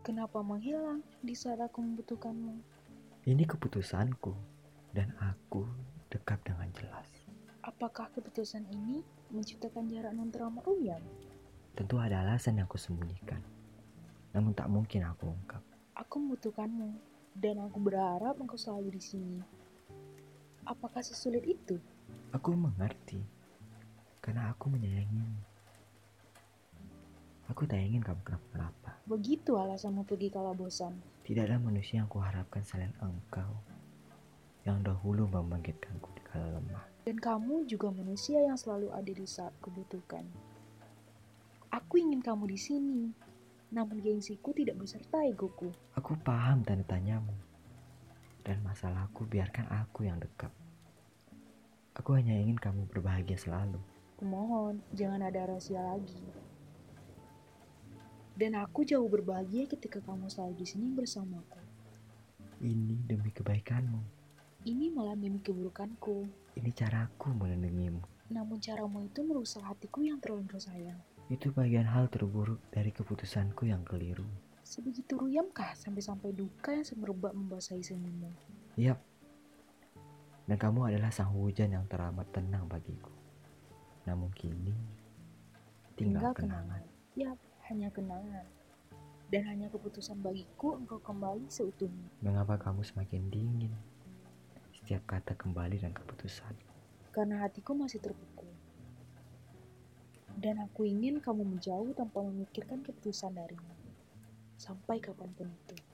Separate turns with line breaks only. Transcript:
Kenapa menghilang di saat aku membutuhkanmu?
Ini keputusanku, dan aku dekat dengan jelas.
Apakah keputusan ini menciptakan jarak non terlalu rumiang?
Tentu ada alasan yang aku sembunyikan, namun tak mungkin aku ungkap.
Aku membutuhkanmu, dan aku berharap engkau selalu di sini. Apakah sesulit itu?
Aku mengerti, karena aku menyayangimu. Aku tak ingin kamu kenapa-napa.
Begitu alasanmu pergi kala bosan.
Tidak ada manusia yang kuharapkan selain engkau yang dahulu membangkitkanku di kala lemah.
Dan kamu juga manusia yang selalu ada di saat kubutuhkan. Aku ingin kamu di sini, namun gengsiku tidak beserta egoku.
Aku paham tanda tanyamu dan masalahku biarkan aku yang dekat. Aku hanya ingin kamu berbahagia selalu.
Kumohon, jangan ada rahasia lagi. Dan aku jauh berbahagia ketika kamu selalu di sini bersamaku.
Ini demi kebaikanmu.
Ini malah demi keburukanku.
Ini caraku melindungimu.
Namun caramu itu merusak hatiku yang terlalu sayang.
Itu bagian hal terburuk dari keputusanku yang keliru.
Sebegitu ruyamkah sampai-sampai duka yang semerbak membasahi senyummu?
Yap. Dan kamu adalah sang hujan yang teramat tenang bagiku. Namun kini tinggal, kenangan.
Yap, Ya, hanya kenangan. Dan hanya keputusan bagiku engkau kembali seutuhnya.
Mengapa kamu semakin dingin? Setiap kata kembali dan keputusan.
Karena hatiku masih terpukul. Dan aku ingin kamu menjauh tanpa memikirkan keputusan darimu sampai kapanpun itu.